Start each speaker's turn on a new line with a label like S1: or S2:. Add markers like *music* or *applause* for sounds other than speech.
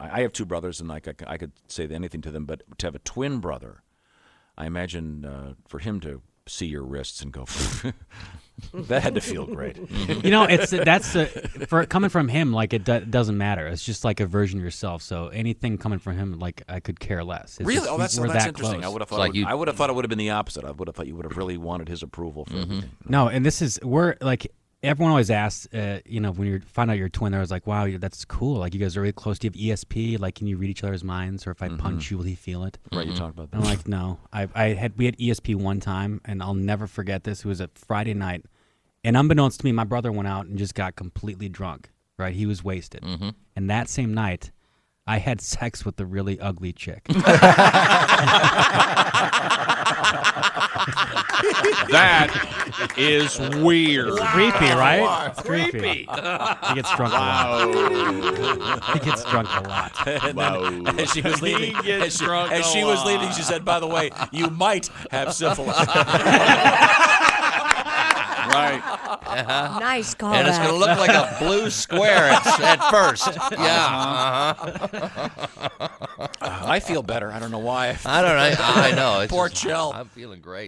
S1: I I have two brothers, and like I, c- I could say anything to them, but to have a twin brother, I imagine uh, for him to see your wrists and go, *laughs* that had to feel great.
S2: you know, it's that's a, for coming from him. Like it do, doesn't matter. It's just like a version of yourself. So anything coming from him, like I could care less.
S1: *laughs*
S2: It's
S1: Really?
S2: just
S1: Oh, that's,
S2: we're
S1: that's
S2: that
S1: interesting.
S2: close.
S1: I would have thought. it
S3: like
S1: would,
S3: you-
S1: I would have thought it would have been the opposite. I would have thought you would have really wanted his approval for everything.
S2: No, and this is we're like everyone always asks. Uh, you know, when you find out you're a twin, they're always like, "Wow, you- that's cool. Like you guys are really close. Do you have ESP? Like, can you read each other's minds? Or if
S1: Mm-hmm.
S2: I punch you, will he feel it?"
S1: Right? You talked
S2: *laughs*
S1: about that.
S2: And I'm like, no. I, I had we had ESP one time, and I'll never forget this. It was a Friday night, and unbeknownst to me, my brother went out and just got completely drunk. Right, he was wasted. And that same night, I had sex with a really ugly chick.
S4: That is weird.
S2: creepy, right? It's creepy. he gets drunk a lot. *laughs* he gets drunk a lot.
S1: *laughs* As she was leaving,
S4: gets
S1: as she,
S4: drunk
S1: as
S4: a
S1: she was leaving, she said, "By the way, you might have syphilis." *laughs*
S4: Right.
S5: Nice call.
S3: and it's going to look like a *laughs* blue square at, at first. Yeah. Uh-huh.
S1: I feel better. I don't know why.
S3: I don't know. I know. It's
S1: Poor
S3: just-
S1: Chell.
S3: I'm feeling great.